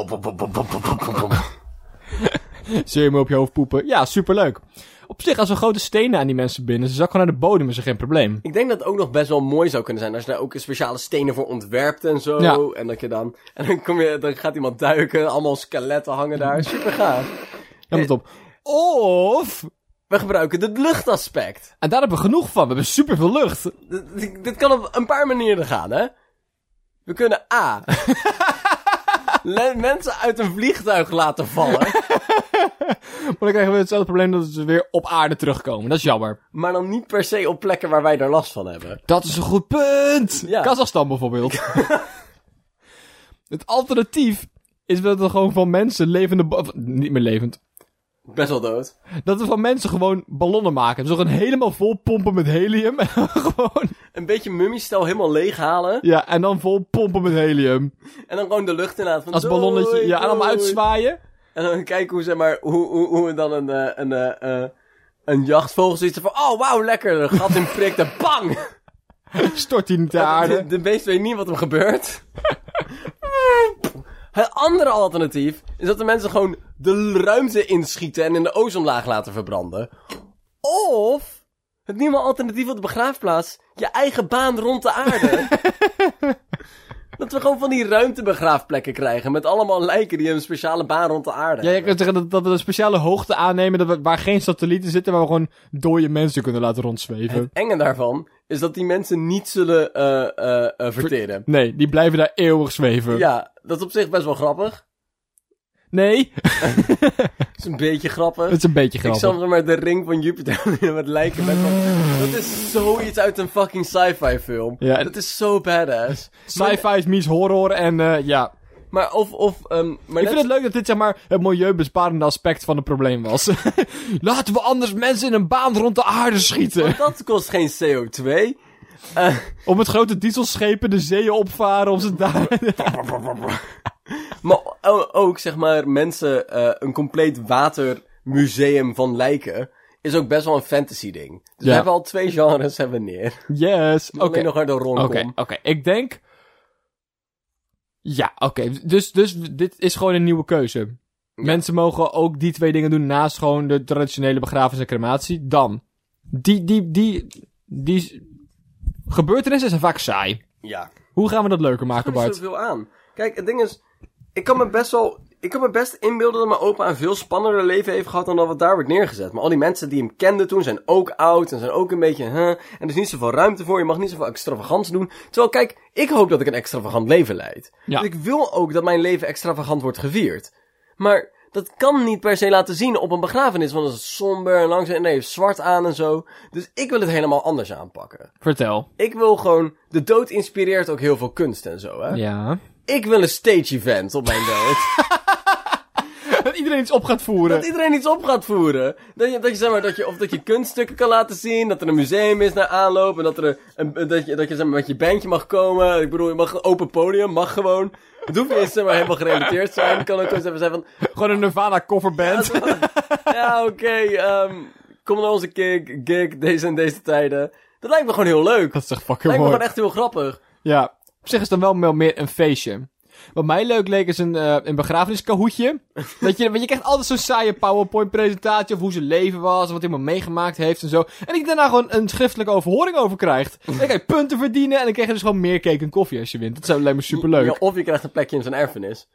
S3: Zul je me op je hoofd poepen? Ja, superleuk. Op zich, als we grote stenen aan die mensen binden, ze zakken gewoon naar de bodem, is er geen probleem.
S4: Ik denk dat het ook nog best wel mooi zou kunnen zijn. Als je daar ook speciale stenen voor ontwerpt en zo.
S3: Ja.
S4: En dat je dan... En dan, kom je, dan gaat iemand duiken. Allemaal skeletten hangen daar. Super gaaf.
S3: Helemaal top. Of...
S4: We gebruiken het luchtaspect.
S3: En daar hebben we genoeg van. We hebben superveel lucht.
S4: D- d- dit kan op een paar manieren gaan, hè? We kunnen A. le- mensen uit een vliegtuig laten vallen.
S3: Maar dan krijgen we hetzelfde probleem dat ze weer op aarde terugkomen. Dat is jammer.
S4: Maar dan niet per se op plekken waar wij daar last van hebben.
S3: Dat is een goed punt.
S4: Ja.
S3: Kazachstan bijvoorbeeld. het alternatief is dat we gewoon van mensen levende... ba- of, Niet meer levend.
S4: Best wel dood.
S3: Dat we van mensen gewoon ballonnen maken. Dus we gaan helemaal vol pompen met helium. En dan gewoon...
S4: Een beetje mummiestel helemaal leeghalen.
S3: Ja, en dan vol pompen met helium.
S4: En dan gewoon de lucht in laten. van
S3: Als
S4: doei,
S3: ballonnetje. Ja, en allemaal
S4: doei.
S3: uitzwaaien.
S4: En dan kijken hoe, zeg maar, hoe, hoe, hoe dan een, eh, een, eh, eh, een jachtvogel zoiets van... Oh, wauw, lekker. Een gat in prikt en bang!
S3: Stort hij niet de aarde.
S4: De, de beest weet niet wat hem gebeurt. Het andere alternatief is dat de mensen gewoon de l- ruimte inschieten en in de ozonlaag laten verbranden. Of het nieuwe alternatief op de begraafplaats, je eigen baan rond de aarde. dat we gewoon van die ruimtebegraafplekken krijgen met allemaal lijken die een speciale baan rond de aarde
S3: Ja, je
S4: hebben.
S3: kunt zeggen dat, dat we een speciale hoogte aannemen dat we, waar geen satellieten zitten, waar we gewoon dode mensen kunnen laten rondzweven.
S4: Het enge daarvan is dat die mensen niet zullen eh, eh, eh, verteren.
S3: Nee, die blijven daar eeuwig zweven.
S4: Ja, dat is op zich best wel grappig.
S3: Nee,
S4: Het is een beetje grappig.
S3: het is een beetje
S4: Ik
S3: grappig.
S4: zal zeg maar de ring van Jupiter met lijken met van- Dat is zoiets uit een fucking sci-fi film.
S3: Ja, en-
S4: Dat is zo badass.
S3: Sci-fi is mies horror en eh, ja.
S4: Maar of, of, ehm maar
S3: Ik
S4: net-
S3: vind het leuk dat dit zeg maar het milieubesparende aspect van het probleem was. Laten we anders mensen in een baan rond de aarde schieten.
S4: want dat kost geen CO2. Eh,
S3: Om met grote dieselschepen de zeeën opvaren om ze daar...
S4: maar o- ook, zeg maar, mensen eh, een compleet water museum van lijken, is ook best wel een fantasy ding. Dus we
S3: Ja.
S4: hebben al twee genres hebben we neer.
S3: Yes. Oké.
S4: Oké. nog naar de romcom.
S3: Oké, oké. Ik denk... Ja, oké. Dus, dus dit is gewoon een nieuwe keuze. Mensen mogen ook die twee dingen doen naast gewoon de traditionele begrafenis en crematie. Dan. Die, die, die, die gebeurtenissen zijn vaak saai.
S4: Ja.
S3: Hoe gaan we dat leuker maken,
S4: Er is
S3: Bart?
S4: zoveel aan. Kijk, het ding is, ik kan me best wel, ik kan me best inbeelden dat mijn opa een veel spannender leven heeft gehad dan dat wat daar wordt neergezet. Maar al die mensen die hem kenden toen zijn ook oud en zijn ook een beetje, huh, en er is niet zoveel ruimte voor, je mag niet zoveel extravagants doen. Terwijl, kijk, ik hoop dat ik een extravagant leven leid.
S3: Ja.
S4: Dus ik wil ook dat mijn leven extravagant wordt gevierd. Maar dat kan niet per se laten zien op een begrafenis, want dat is somber en langzaam en hij heeft zwart aan en zo. Dus ik wil het helemaal anders aanpakken.
S3: Vertel.
S4: Ik wil gewoon, de dood inspireert ook heel veel kunst en zo, hè?
S3: Ja.
S4: Ik wil een stage event op mijn dood.
S3: Dat iedereen iets op gaat voeren.
S4: dat iedereen iets op gaat voeren. Dat je, dat je, zeg maar, dat je, of dat je kunststukken kan laten zien. Dat er een museum is naar aanloop. En dat, er een, een- dat je, dat je zeg maar, met je bandje mag komen. Ik bedoel, je mag een open podium. Mag gewoon. Het hoeft niet eens zeg maar, helemaal gerelateerd te zijn. Het kan ook gewoon even zijn van...
S3: Gewoon een Nirvana coverband.
S4: Ja, oké. ehm, kom naar onze gig. Gig. Deze en deze tijden. Dat lijkt me gewoon heel leuk.
S3: dat is toch fucking
S4: lijkt me
S3: mooi.
S4: gewoon echt heel grappig.
S3: Ja. Op zich is het dan wel wel meer een feestje. Wat mij leuk leek is een, eh een begrafeniskahoetje. dat je, want je krijgt altijd zo'n saaie PowerPoint presentatie of hoe zijn leven was en wat iemand meegemaakt heeft en zo. En ik daarna gewoon een schriftelijke overhoring over krijgt. En dan kan je punten verdienen en dan krijg je dus gewoon meer cake en koffie als je wint. Dat zou lijkt me superleuk.
S4: Ja, of je krijgt een plekje in zijn erfenis.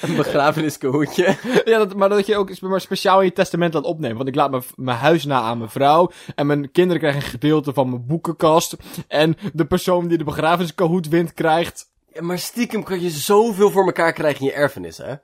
S4: een begrafeniskohoedje.
S3: Ja, dat, maar dat je ook maar speciaal in je testament laat opnemen. Want ik laat mijn, mijn huis na aan mijn vrouw. En mijn kinderen krijgen een gedeelte van mijn boekenkast. En de persoon die de begrafeniskahoed wint krijgt...
S4: Ja, maar stiekem kan je zoveel voor elkaar krijgen in je erfenis, hè?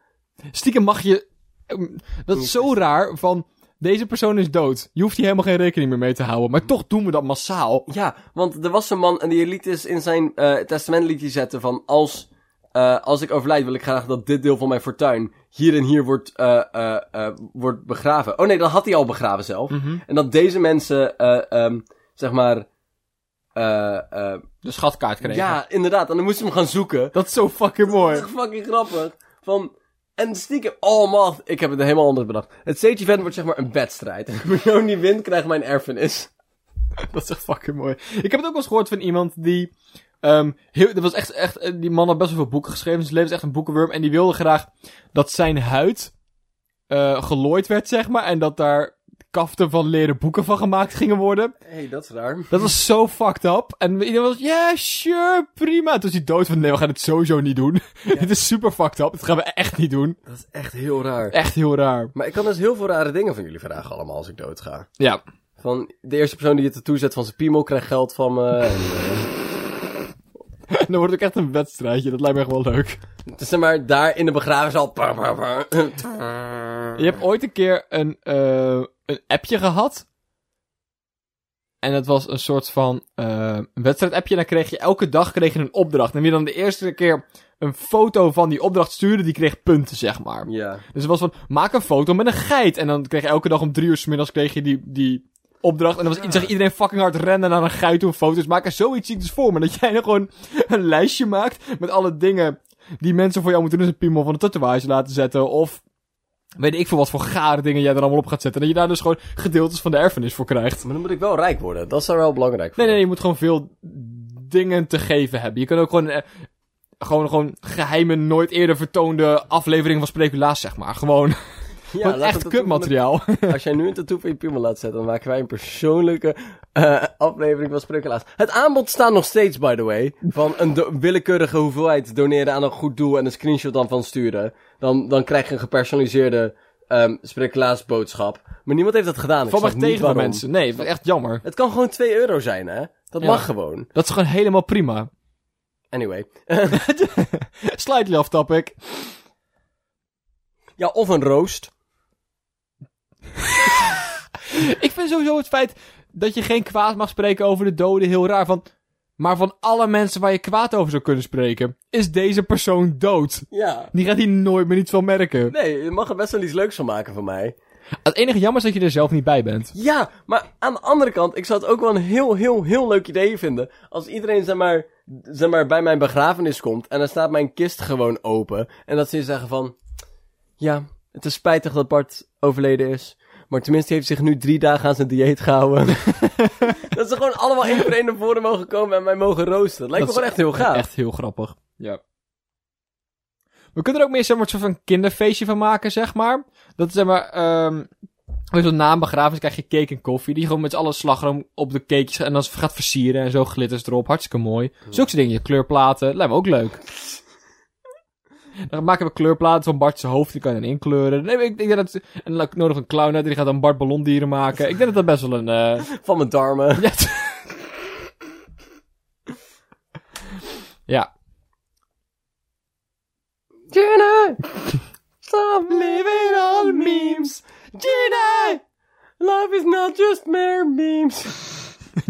S3: Stiekem mag je... ehm, Dat is zo raar van... Deze persoon is dood. Je hoeft hier helemaal geen rekening meer mee te houden. Maar toch doen we dat massaal.
S4: Ja, want er was een man en die liet eens in zijn eh, testament liet hij zetten van... Als, eh, als ik overlijd wil ik graag dat dit deel van mijn fortuin hier en hier wordt, eh, eh, eh, wordt begraven. Oh nee, dat had hij al begraven zelf. En dat deze mensen, eh, ehm, zeg maar... eh, eh,
S3: De schatkaart krijgen.
S4: ja, inderdaad. En dan moesten we hem gaan zoeken.
S3: Dat is zo fucking mooi.
S4: Dat is echt fucking grappig. Van, en stiekem, oh man, ik heb het helemaal anders bedacht. Het stage event wordt zeg maar een wedstrijd. En wie jou niet wint, krijgt mijn erfenis.
S3: Dat is echt fucking mooi. Ik heb het ook wel eens gehoord van iemand die. ehm heel, dat was echt, echt, eh, die man had best wel veel boeken geschreven. Zijn leven is echt een boekenworm. En die wilde graag dat zijn huid eh gelooid werd, zeg maar. En dat daar kaften van leren boeken van gemaakt gingen worden.
S4: Hé, hey, dat is raar.
S3: Dat was zo fucked up. En iedereen was, ja, sure, prima. Toen was hij dood van, nee, we gaan het sowieso niet doen. Dit is super fucked up. Dat gaan we echt niet doen.
S4: Dat is echt heel raar.
S3: Echt heel raar.
S4: Maar ik kan dus heel veel rare dingen van jullie vragen allemaal als ik doodga.
S3: Ja.
S4: Van, de eerste persoon die je tattoo zet van zijn piemel krijgt geld van me. En, eh,
S3: Dan wordt het ook echt een wedstrijdje. Dat lijkt me echt wel leuk.
S4: het is dus zeg maar daar in de begrafenis Par, par, par.
S3: Je hebt ooit een keer een, eh, een appje gehad. En dat was een soort van eh, een wedstrijdappje. En dan kreeg je elke dag kreeg je een opdracht. En wie dan de eerste keer een foto van die opdracht stuurde, die kreeg punten, zeg maar.
S4: Ja.
S3: Dus het was van, maak een foto met een geit. En dan kreeg je elke dag om drie uur 's middags kreeg je die, die opdracht. En dan was iedereen- zag iedereen fucking hard rennen naar een geit om foto's maken. Zoiets zie ik dus voor me. Dat jij dan gewoon een lijstje maakt met alle dingen die mensen voor jou moeten doen. Dus een piemel van een tatoeage laten zetten. Of weet ik veel wat voor gare dingen jij er allemaal op gaat zetten. En dat je daar dus gewoon gedeeltes van de erfenis voor krijgt.
S4: Maar dan moet ik wel rijk worden. Dat is daar wel belangrijk voor.
S3: Nee, nee, je moet gewoon veel dingen te geven hebben. Je kan ook gewoon... eh, gewoon, gewoon geheime, nooit eerder vertoonde afleveringen van Speculaas, zeg maar. Gewoon,
S4: Ja,
S3: gewoon
S4: laat
S3: echt
S4: het tattoo van de
S3: kutmateriaal.
S4: Als jij nu een tattoo van je piemel laat zetten, dan maken wij een persoonlijke eh, aflevering van Spreukelaars. Het aanbod staat nog steeds, by the way, van een do- willekeurige hoeveelheid doneren aan een goed doel en een screenshot dan van sturen. Dan, dan krijg je een gepersonaliseerde ehm Spreukelaars boodschap. Maar niemand heeft dat gedaan. Ik
S3: Valt
S4: snap
S3: echt
S4: niet
S3: tegen voor
S4: waarom.
S3: mensen. Nee, dat is echt jammer.
S4: Het kan gewoon 2 euro zijn, hè? Dat
S3: Ja.
S4: mag gewoon.
S3: Dat is gewoon helemaal prima.
S4: Anyway.
S3: Slightly off topic.
S4: Ja, of een roast.
S3: Ik vind sowieso het feit dat je geen kwaad mag spreken over de doden heel raar. Van, maar van alle mensen waar je kwaad over zou kunnen spreken, is deze persoon dood.
S4: Ja.
S3: Die gaat hier nooit meer iets van merken.
S4: Nee, je mag er best wel iets leuks van maken van mij.
S3: Het enige jammer is dat je er zelf niet bij bent.
S4: Ja, maar aan de andere kant, ik zou het ook wel een heel, heel, heel leuk idee vinden. Als iedereen, zeg maar, zeg maar, bij mijn begrafenis komt en dan staat mijn kist gewoon open. En dat ze zeggen van, ja, het is spijtig dat Bart overleden is. Maar tenminste heeft zich nu drie dagen aan zijn dieet gehouden. dat ze gewoon allemaal één voor één naar voren mogen komen en mij mogen roosten. Dat lijkt
S3: Dat
S4: me gewoon
S3: is
S4: echt heel gaaf.
S3: Echt heel grappig. Ja. We kunnen er ook meer zeg maar, een soort van kinderfeestje van maken, zeg maar. Dat is zeg maar... ehm Weet je, na een begrafenis krijg je cake en koffie. Die je gewoon met z'n allen slagroom op de cakejes en dan gaat versieren en zo glitters erop. Hartstikke mooi. Zulke soort dingen, kleurplaten, lijkt me ook leuk. Dan maken we kleurplaten van Bart's hoofd, die kan je dan inkleuren. Nee, maar ik, ik denk dat, en dan nodig een clown uit, die gaat dan Bart ballondieren maken. Ik denk dat dat best wel een, eh,
S4: Van mijn darmen.
S3: ja. ja.
S4: Jenna! Stop living on memes! Jenna! Life is not just mere memes.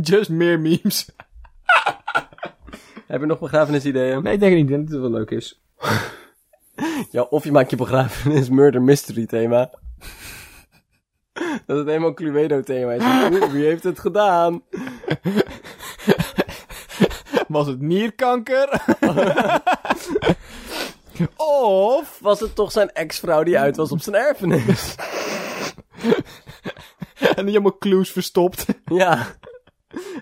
S3: Just meer memes.
S4: Heb je nog begrafenisideeën?
S3: Nee, ik denk het niet. Ik denk dat het wel leuk is.
S4: Ja, of je maakt je begrafenis murder mystery thema. Dat het helemaal Cluedo thema is. Oeh, Wie heeft het gedaan?
S3: Was het nierkanker? of...
S4: Was het toch zijn ex-vrouw die uit was op zijn erfenis?
S3: En die helemaal clues verstopt.
S4: Ja.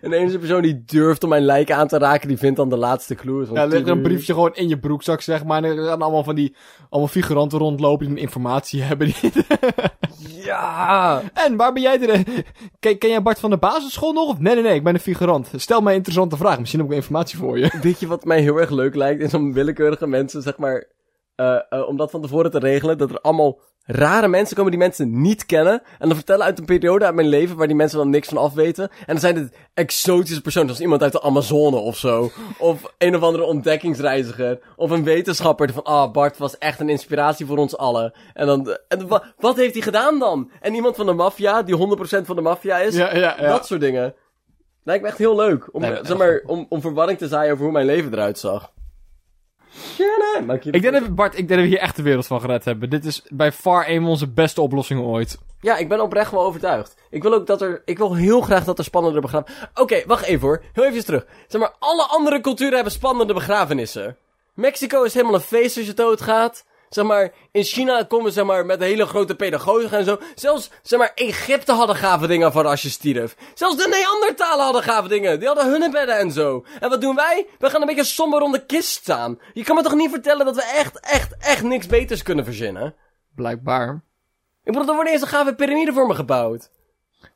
S4: En de enige persoon die durft om mijn lijk aan te raken, die vindt dan de laatste clue.
S3: Ja, leg er een briefje gewoon in je broekzak, zeg maar. En er gaan allemaal van die... Allemaal figuranten rondlopen die informatie hebben. Die...
S4: Ja!
S3: En waar ben jij... De... Ken, ken jij Bart van de basisschool nog? Of- Nee, nee, nee. Ik ben een figurant. Stel mij een interessante vraag. Misschien heb ik wel informatie voor je.
S4: Weet je wat mij heel erg leuk lijkt? Is om willekeurige mensen, zeg maar, eh, eh, om dat van tevoren te regelen. Dat er allemaal rare mensen komen die mensen niet kennen. En dan vertellen uit een periode uit mijn leven waar die mensen dan niks van afweten. En dan zijn het exotische personen, zoals iemand uit de Amazone of zo. Of een of andere ontdekkingsreiziger. Of een wetenschapper die van, ah, Bart was echt een inspiratie voor ons allen. En dan, eh, en wa- wat heeft hij gedaan dan? En iemand van de maffia, die 100% van de maffia is.
S3: Ja, ja, ja.
S4: Dat soort dingen. Lijkt me echt heel leuk. Om,
S3: Lijkt me
S4: zeg maar, om, om verwarring te zaaien over hoe mijn leven eruit zag. Gerne. Maak je
S3: Ik denk dat we, Bart, ik denk dat we hier echt de wereld van gered hebben. Dit is bij far een van onze beste oplossingen ooit.
S4: Ja, ik ben oprecht wel overtuigd. Ik wil ook dat er... Ik wil heel graag dat er spannende begrafenissen... Oké, wacht even hoor. Heel even terug. Zeg maar, alle andere culturen hebben spannende begrafenissen. Mexico is helemaal een feest als je doodgaat. Zeg maar, in China komen ze zeg maar, met een hele grote pedagogen en zo. Zelfs, zeg maar, Egypte hadden gave dingen voor als je stierf. Zelfs de Neandertalen hadden gave dingen. Die hadden hun bedden en zo. En wat doen wij? We gaan een beetje somber om de kist staan. Je kan me toch niet vertellen dat we echt, echt, echt niks beters kunnen verzinnen?
S3: Blijkbaar.
S4: Ik bedoel, er worden eerst een gave piramide voor me gebouwd.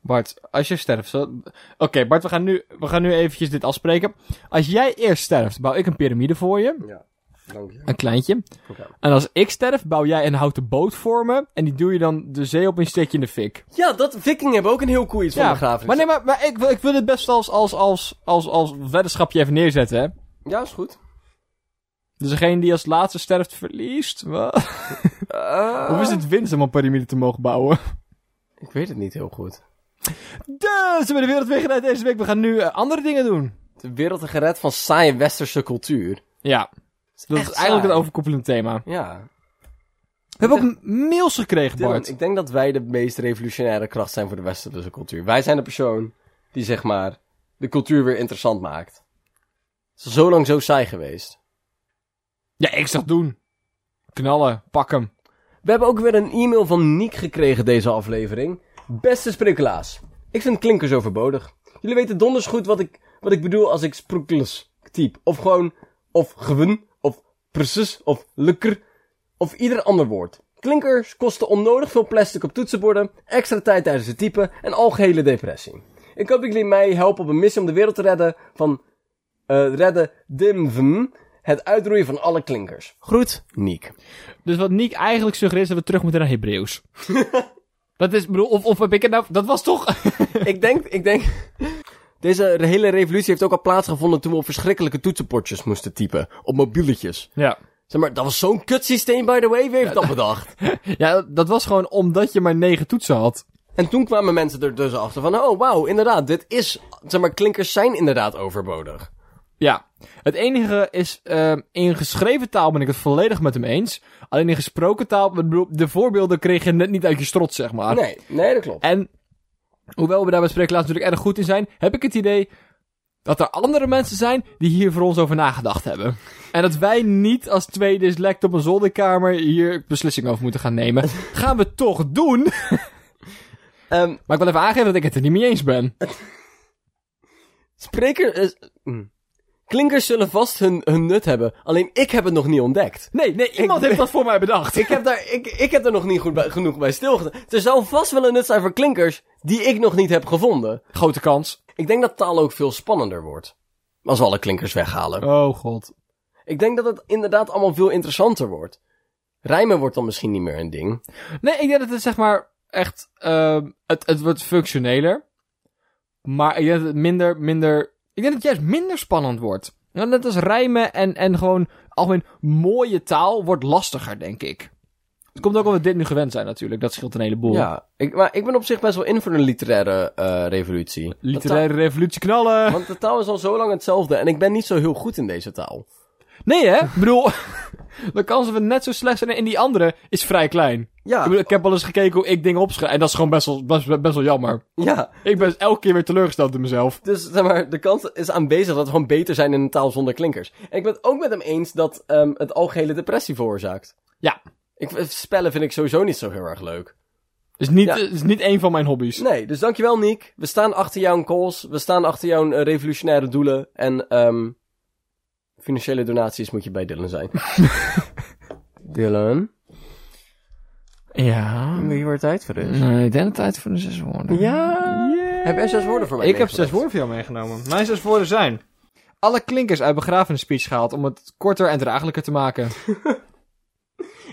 S3: Bart, als je sterft... zo- Oké, Bart, we gaan, nu, we gaan nu eventjes dit afspreken. Als jij eerst sterft, bouw ik een piramide voor je.
S4: Ja, dank je.
S3: Een kleintje.
S4: Oké.
S3: En als ik sterf, bouw jij een houten boot voor me. En die duw je dan de zee op en steek je in de fik.
S4: Ja, dat vikingen hebben ook een heel cool iets van begrafenis.
S3: maar nee, maar, maar ik, wil- ik wil dit best als, als, als, als, als weddenschapje even neerzetten, hè.
S4: Ja, is goed.
S3: Dus degene die als laatste sterft, verliest. Wat? Hoe is het winst om een piramide te mogen bouwen?
S4: Ik weet het niet heel goed.
S3: Dus, we hebben de wereld weer gered deze week. We gaan nu eh, andere dingen doen.
S4: De wereld is gered van saaie westerse cultuur.
S3: Ja, dat
S4: echt
S3: is eigenlijk
S4: saai.
S3: het overkoepelend thema.
S4: Ja.
S3: We hebben ook m- mails gekregen,
S4: Dylan,
S3: Bart.
S4: ik denk dat wij de meest revolutionaire kracht zijn voor de westerse cultuur. Wij zijn de persoon die, zeg maar, de cultuur weer interessant maakt. Het is al zo lang zo saai geweest.
S3: Ja, ik zag doen. Knallen, pak hem.
S4: We hebben ook weer een e-mail van Niek gekregen deze aflevering. Beste sprekelaars, ik vind klinkers overbodig. Jullie weten donders goed wat ik, wat ik bedoel als ik sproekels typ. Of gewoon, of gewen, of precies, of lekker, of ieder ander woord. Klinkers kosten onnodig veel plastic op toetsenborden, extra tijd tijdens het typen en algehele depressie. Ik hoop dat jullie mij helpen op een missie om de wereld te redden van eh redden dimven, het uitroeien van alle klinkers. Groet, Niek.
S3: Dus wat Nick eigenlijk suggereert is dat we terug moeten naar Hebreeuws. dat is, bedoel, of, of heb ik het nou... Dat was toch...
S4: ik denk, ik denk... Deze hele revolutie heeft ook al plaatsgevonden toen we op verschrikkelijke toetsenpotjes moesten typen. Op mobieletjes.
S3: ja.
S4: Zeg maar, dat was zo'n kutsysteem, by the way. Wie heeft dat bedacht?
S3: ja, dat was gewoon omdat je maar negen toetsen had.
S4: En toen kwamen mensen er dus achter van... Oh, wauw, inderdaad, dit is... Zeg maar, klinkers zijn inderdaad overbodig.
S3: Ja. Het enige is, ehm, in geschreven taal ben ik het volledig met hem eens. Alleen in gesproken taal, ik bedoel, de voorbeelden kreeg je net niet uit je strot, zeg maar.
S4: Ah. Nee, nee, dat klopt.
S3: En hoewel we daar bij Spreeklaas natuurlijk erg goed in zijn, heb ik het idee dat er andere mensen zijn die hier voor ons over nagedacht hebben. En dat wij niet als twee dyslect op een zolderkamer hier beslissing over moeten gaan nemen. Gaan we toch doen.
S4: Ehm,
S3: Maar ik wil even aangeven dat ik het er niet mee eens ben.
S4: spreker... is- hm. Klinkers zullen vast hun, hun nut hebben. Alleen ik heb het nog niet ontdekt.
S3: Nee, nee, iemand heeft dat voor mij bedacht.
S4: Ik heb, daar, ik, ik heb er nog niet goed bij, genoeg bij stilgestaan. Er zou vast wel een nut zijn voor klinkers die ik nog niet heb gevonden.
S3: Grote kans.
S4: Ik denk dat taal ook veel spannender wordt. Als we alle klinkers weghalen.
S3: Oh god.
S4: Ik denk dat het inderdaad allemaal veel interessanter wordt. Rijmen wordt dan misschien niet meer een ding.
S3: Nee, ik denk dat het zeg maar echt... ehm, het, het wordt functioneler. Maar ik denk dat het minder, minder... Ik denk dat het juist minder spannend wordt. Ja, Net als rijmen en, en gewoon algemeen mooie taal wordt lastiger, denk ik. Het komt ook omdat we dit nu gewend zijn natuurlijk. Dat scheelt een heleboel.
S4: Ja, ik, maar ik ben op zich best wel in voor een literaire eh, revolutie.
S3: Literaire revolutie knallen.
S4: De taal- want de taal is al zo lang hetzelfde en ik ben niet zo heel goed in deze taal.
S3: Nee hè? Ik bedoel, de kans dat we net zo slecht zijn in die andere is vrij klein. Ik,
S4: Ja,
S3: bedoel, ik heb wel eens gekeken hoe ik dingen opschrijf. En dat is gewoon best wel, best, best wel jammer.
S4: ja.
S3: Ik ben elke keer weer teleurgesteld in mezelf.
S4: Dus zeg maar, de kans is aanwezig dat we gewoon beter zijn in een taal zonder klinkers. En ik ben het ook met hem eens dat ehm, het algehele depressie veroorzaakt.
S3: Ja.
S4: Ik, spellen vind ik sowieso niet zo heel erg leuk.
S3: Is niet,
S4: Ja.
S3: is niet één van mijn hobby's.
S4: Nee, dus dankjewel Niek. We staan achter jouw calls. We staan achter jouw eh, revolutionaire doelen. En ehm financiële donaties moet je bij Dylan zijn. Dylan,
S3: Ja.
S4: wie wordt tijd voor dit?
S3: Nee, ik denk dat tijd voor de zes woorden.
S4: Ja. Heb jij zes woorden voor mij?
S3: Ik heb zes
S4: meegebracht?
S3: woorden voor jou meegenomen. Mijn zes woorden zijn... Alle klinkers uit begrafenisspeech gehaald om het korter en draaglijker te maken.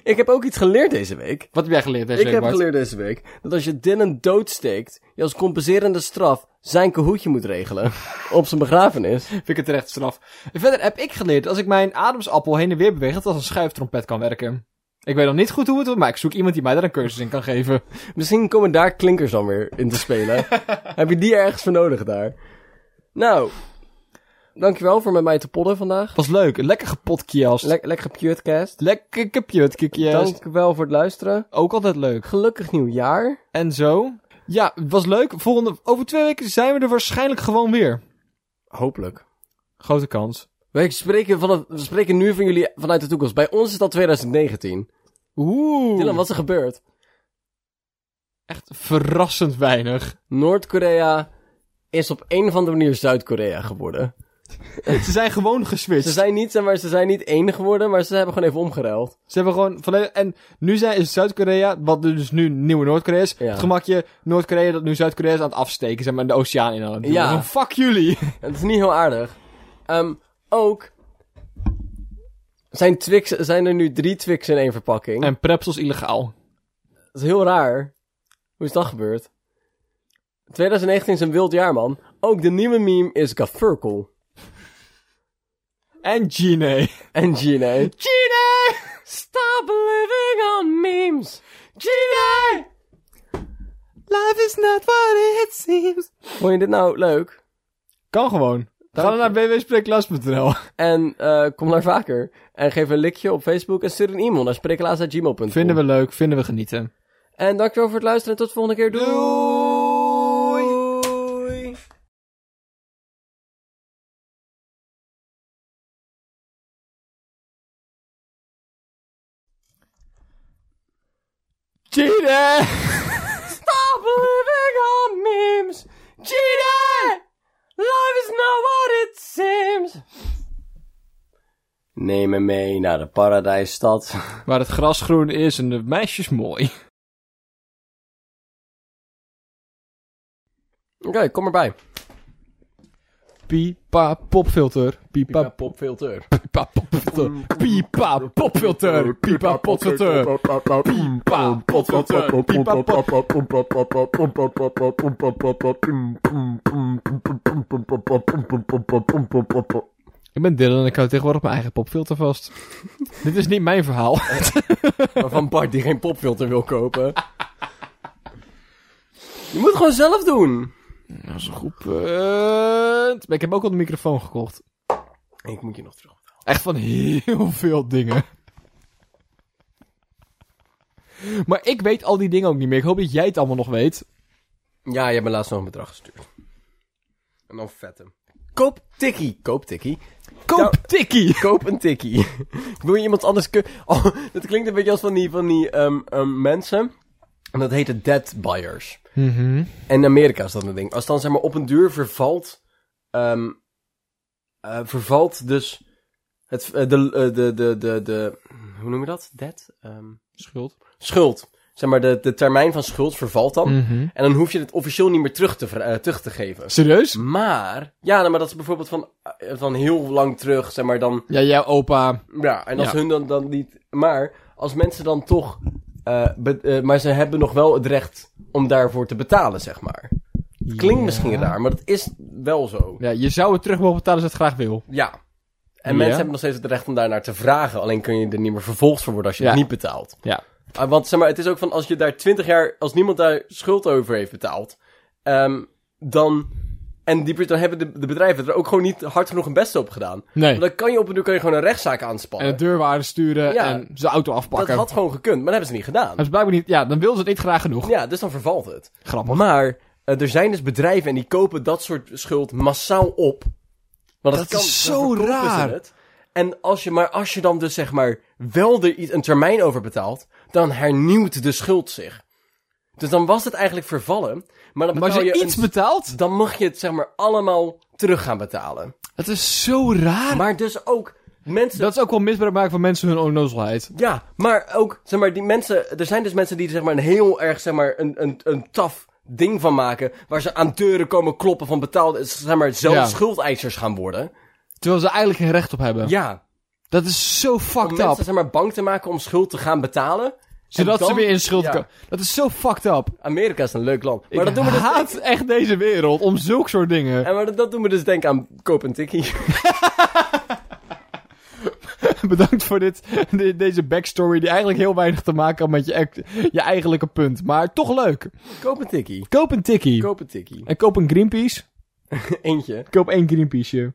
S4: Ik heb ook iets geleerd deze week.
S3: Wat heb jij geleerd deze
S4: Ik
S3: week,
S4: heb
S3: Bart?
S4: geleerd deze week dat als je Dylan doodsteekt, je als compenserende straf zijn kahootje moet regelen. op zijn begrafenis.
S3: Vind ik het terecht straf. En verder heb ik geleerd dat als ik mijn ademsappel heen en weer beweeg, dat dat als een schuiftrompet kan werken. Ik weet nog niet goed hoe het wordt, maar ik zoek iemand die mij daar een cursus in kan geven.
S4: Misschien komen daar klinkers dan weer in te spelen. Heb je die ergens voor nodig daar? Nou, dankjewel voor met mij te podden vandaag.
S3: Was leuk, een lekker gepodcast.
S4: Le lekker putecast.
S3: Lekker kapjut, kikjes.
S4: Dankjewel voor het luisteren.
S3: Ook altijd leuk.
S4: Gelukkig nieuwjaar.
S3: En zo. Ja, het was leuk. Volgende, over twee weken zijn we er waarschijnlijk gewoon weer.
S4: Hopelijk.
S3: Grote kans.
S4: Wij spreken, vanaf, we spreken nu van jullie vanuit de toekomst. Bij ons is dat 2019.
S3: Oeh.
S4: Dylan, wat is er gebeurd?
S3: Echt verrassend weinig.
S4: Noord-Korea is op een of andere manier Zuid-Korea geworden.
S3: Ze zijn gewoon geswitcht.
S4: Ze zijn, niet, zeg maar, ze zijn niet één geworden, maar ze hebben gewoon even omgeruild.
S3: Ze hebben gewoon volledig... En nu zijn, is Zuid-Korea, wat dus nu nieuwe Noord-Korea is...
S4: Ja.
S3: Het gemakje Noord-Korea dat nu Zuid-Korea is aan het afsteken. Zeg maar in de oceaan in aan het doen.
S4: Ja.
S3: Gewoon, fuck jullie.
S4: Het is niet heel aardig. Ehm, ook zijn, Twix, zijn er nu drie Twix in één verpakking.
S3: En prepsels illegaal.
S4: Dat is heel raar. Hoe is dat gebeurd? 2019 is een wild jaar, man. Ook de nieuwe meme is Gafurkel.
S3: En Gine.
S4: En Gine.
S3: Gine!
S4: Stop living on memes.
S3: Gine! Life is not what it seems.
S4: Vond je dit nou leuk?
S3: Kan gewoon. Ga dan naar www.spreeklas.nl.
S4: En eh, kom naar vaker. En geef een likje op Facebook en stuur een e-mail naar spreeklaas.gmail.com.
S3: Vinden we leuk, vinden we genieten.
S4: En dankjewel voor het luisteren en tot de volgende keer. Doei.
S3: Gine!
S4: Stop living on memes. Cheater! Life is not what it seems. Neem me mee naar de paradijsstad.
S3: Waar het gras groen is en de meisjes mooi.
S4: Oké, kom erbij.
S3: Pipa popfilter. Pipa
S4: popfilter.
S3: pipa popfilter. Pipa popfilter. Pipa potfilter. Pipa potfilter. Pipa pop. Ik ben Dylan en ik hou tegenwoordig mijn eigen popfilter vast. Dit is niet mijn verhaal.
S4: Van Bart die geen popfilter wil kopen. Je moet gewoon zelf doen.
S3: Dat is een goed punt. Maar eh, ik heb ook al een microfoon gekocht.
S4: Ik moet je nog terug.
S3: Echt van heel veel dingen. Maar ik weet al die dingen ook niet meer. Ik hoop dat jij het allemaal nog weet.
S4: Ja, je hebt me laatst nog een bedrag gestuurd. En dan vet hem. Koop tikkie. Koop tikkie. Nou-
S3: Koop tikkie!
S4: Koop een tikkie. Wil je iemand anders... ku- Oh, dat klinkt een beetje als van die, van die ehm, ehm, mensen. En dat heette dead buyers.
S3: Mhm.
S4: En in Amerika is dat een ding. Als dan zeg maar op een duur vervalt... ehm, eh, vervalt dus... Het, eh, de, eh, de, de, de, de... Hoe noem je dat? Dead? Ehm,
S3: Schuld.
S4: schuld. Zeg maar, de, de termijn van schuld vervalt dan.
S3: Mhm.
S4: En dan hoef je het officieel niet meer terug te, ver- eh, terug te geven.
S3: Serieus?
S4: Maar, ja, nou, maar dat is bijvoorbeeld van, eh, van heel lang terug, zeg maar dan.
S3: Ja, jouw opa.
S4: Ja, en als
S3: Ja.
S4: hun dan, dan niet. Maar als mensen dan toch. eh, be- eh, maar ze hebben nog wel het recht om daarvoor te betalen, zeg maar. Klinkt misschien raar, maar dat is wel zo.
S3: Ja, je zou het terug mogen betalen als je het graag wil.
S4: Ja. En
S3: Ja.
S4: mensen hebben nog steeds het recht om daarnaar te vragen. Alleen kun je er niet meer vervolgd voor worden als je het
S3: Ja.
S4: niet betaalt.
S3: Ja.
S4: Ah, want zeg maar, het is ook van als je daar 20 jaar, als niemand daar schuld over heeft betaald, ehm, dan. En die, dan hebben de, de bedrijven er ook gewoon niet hard genoeg hun best op gedaan.
S3: Nee.
S4: Want dan kan je op een duur kan je gewoon een rechtszaak
S3: En
S4: aanspannen.
S3: de deurwaarde sturen
S4: Ja.
S3: en zijn auto
S4: dat
S3: afpakken.
S4: had gewoon gekund, maar dat hebben ze niet gedaan.
S3: Dat is blijkbaar niet... Ja, dan wilden ze het niet graag genoeg.
S4: Ja, dus dan vervalt het.
S3: Grappig.
S4: Maar eh, er zijn dus bedrijven en die kopen dat soort schuld massaal op. Want
S3: Dat is
S4: dan
S3: zo
S4: verkopen ze
S3: raar.
S4: het. En als je, maar als je dan dus zeg maar wel er iets, een termijn over betaalt, dan hernieuwt de schuld zich. Dus dan was het eigenlijk vervallen, maar dan
S3: Maar als
S4: betaal
S3: je,
S4: je
S3: iets
S4: een-
S3: betaalt,
S4: dan mag je het zeg maar allemaal terug gaan betalen.
S3: dat is zo raar.
S4: Maar dus ook mensen
S3: dat is ook wel misbruik maken van mensen hun onnozelheid.
S4: Ja, maar ook, zeg maar, die mensen, er zijn dus mensen die er, zeg maar, een heel erg, zeg maar, een, een, een taf ding van maken. Waar ze aan deuren komen kloppen van betaald, zeg maar, zelf
S3: Ja.
S4: schuldeisers gaan worden.
S3: Terwijl ze eigenlijk geen recht op hebben.
S4: Ja,
S3: Dat is zo
S4: om
S3: fucked up.
S4: mensen, zeg maar, bang te maken om schuld te gaan betalen.
S3: Zodat
S4: En dan-
S3: ze weer in schuld
S4: ja.
S3: komen. Dat is zo fucked up.
S4: Amerika is een leuk land. Maar dat doen we dus...
S3: haat echt deze wereld om zulke soort dingen.
S4: En maar dat, dat doen we dus denken aan koop een tikkie.
S3: Bedankt voor dit, de- deze backstory die eigenlijk heel weinig te maken had met je, act- je eigenlijke punt. Maar toch leuk.
S4: koop een tikkie.
S3: Koop een tikkie.
S4: Koop een tikkie.
S3: En koop een Greenpeace.
S4: Eentje.
S3: Koop één Greenpeaceje.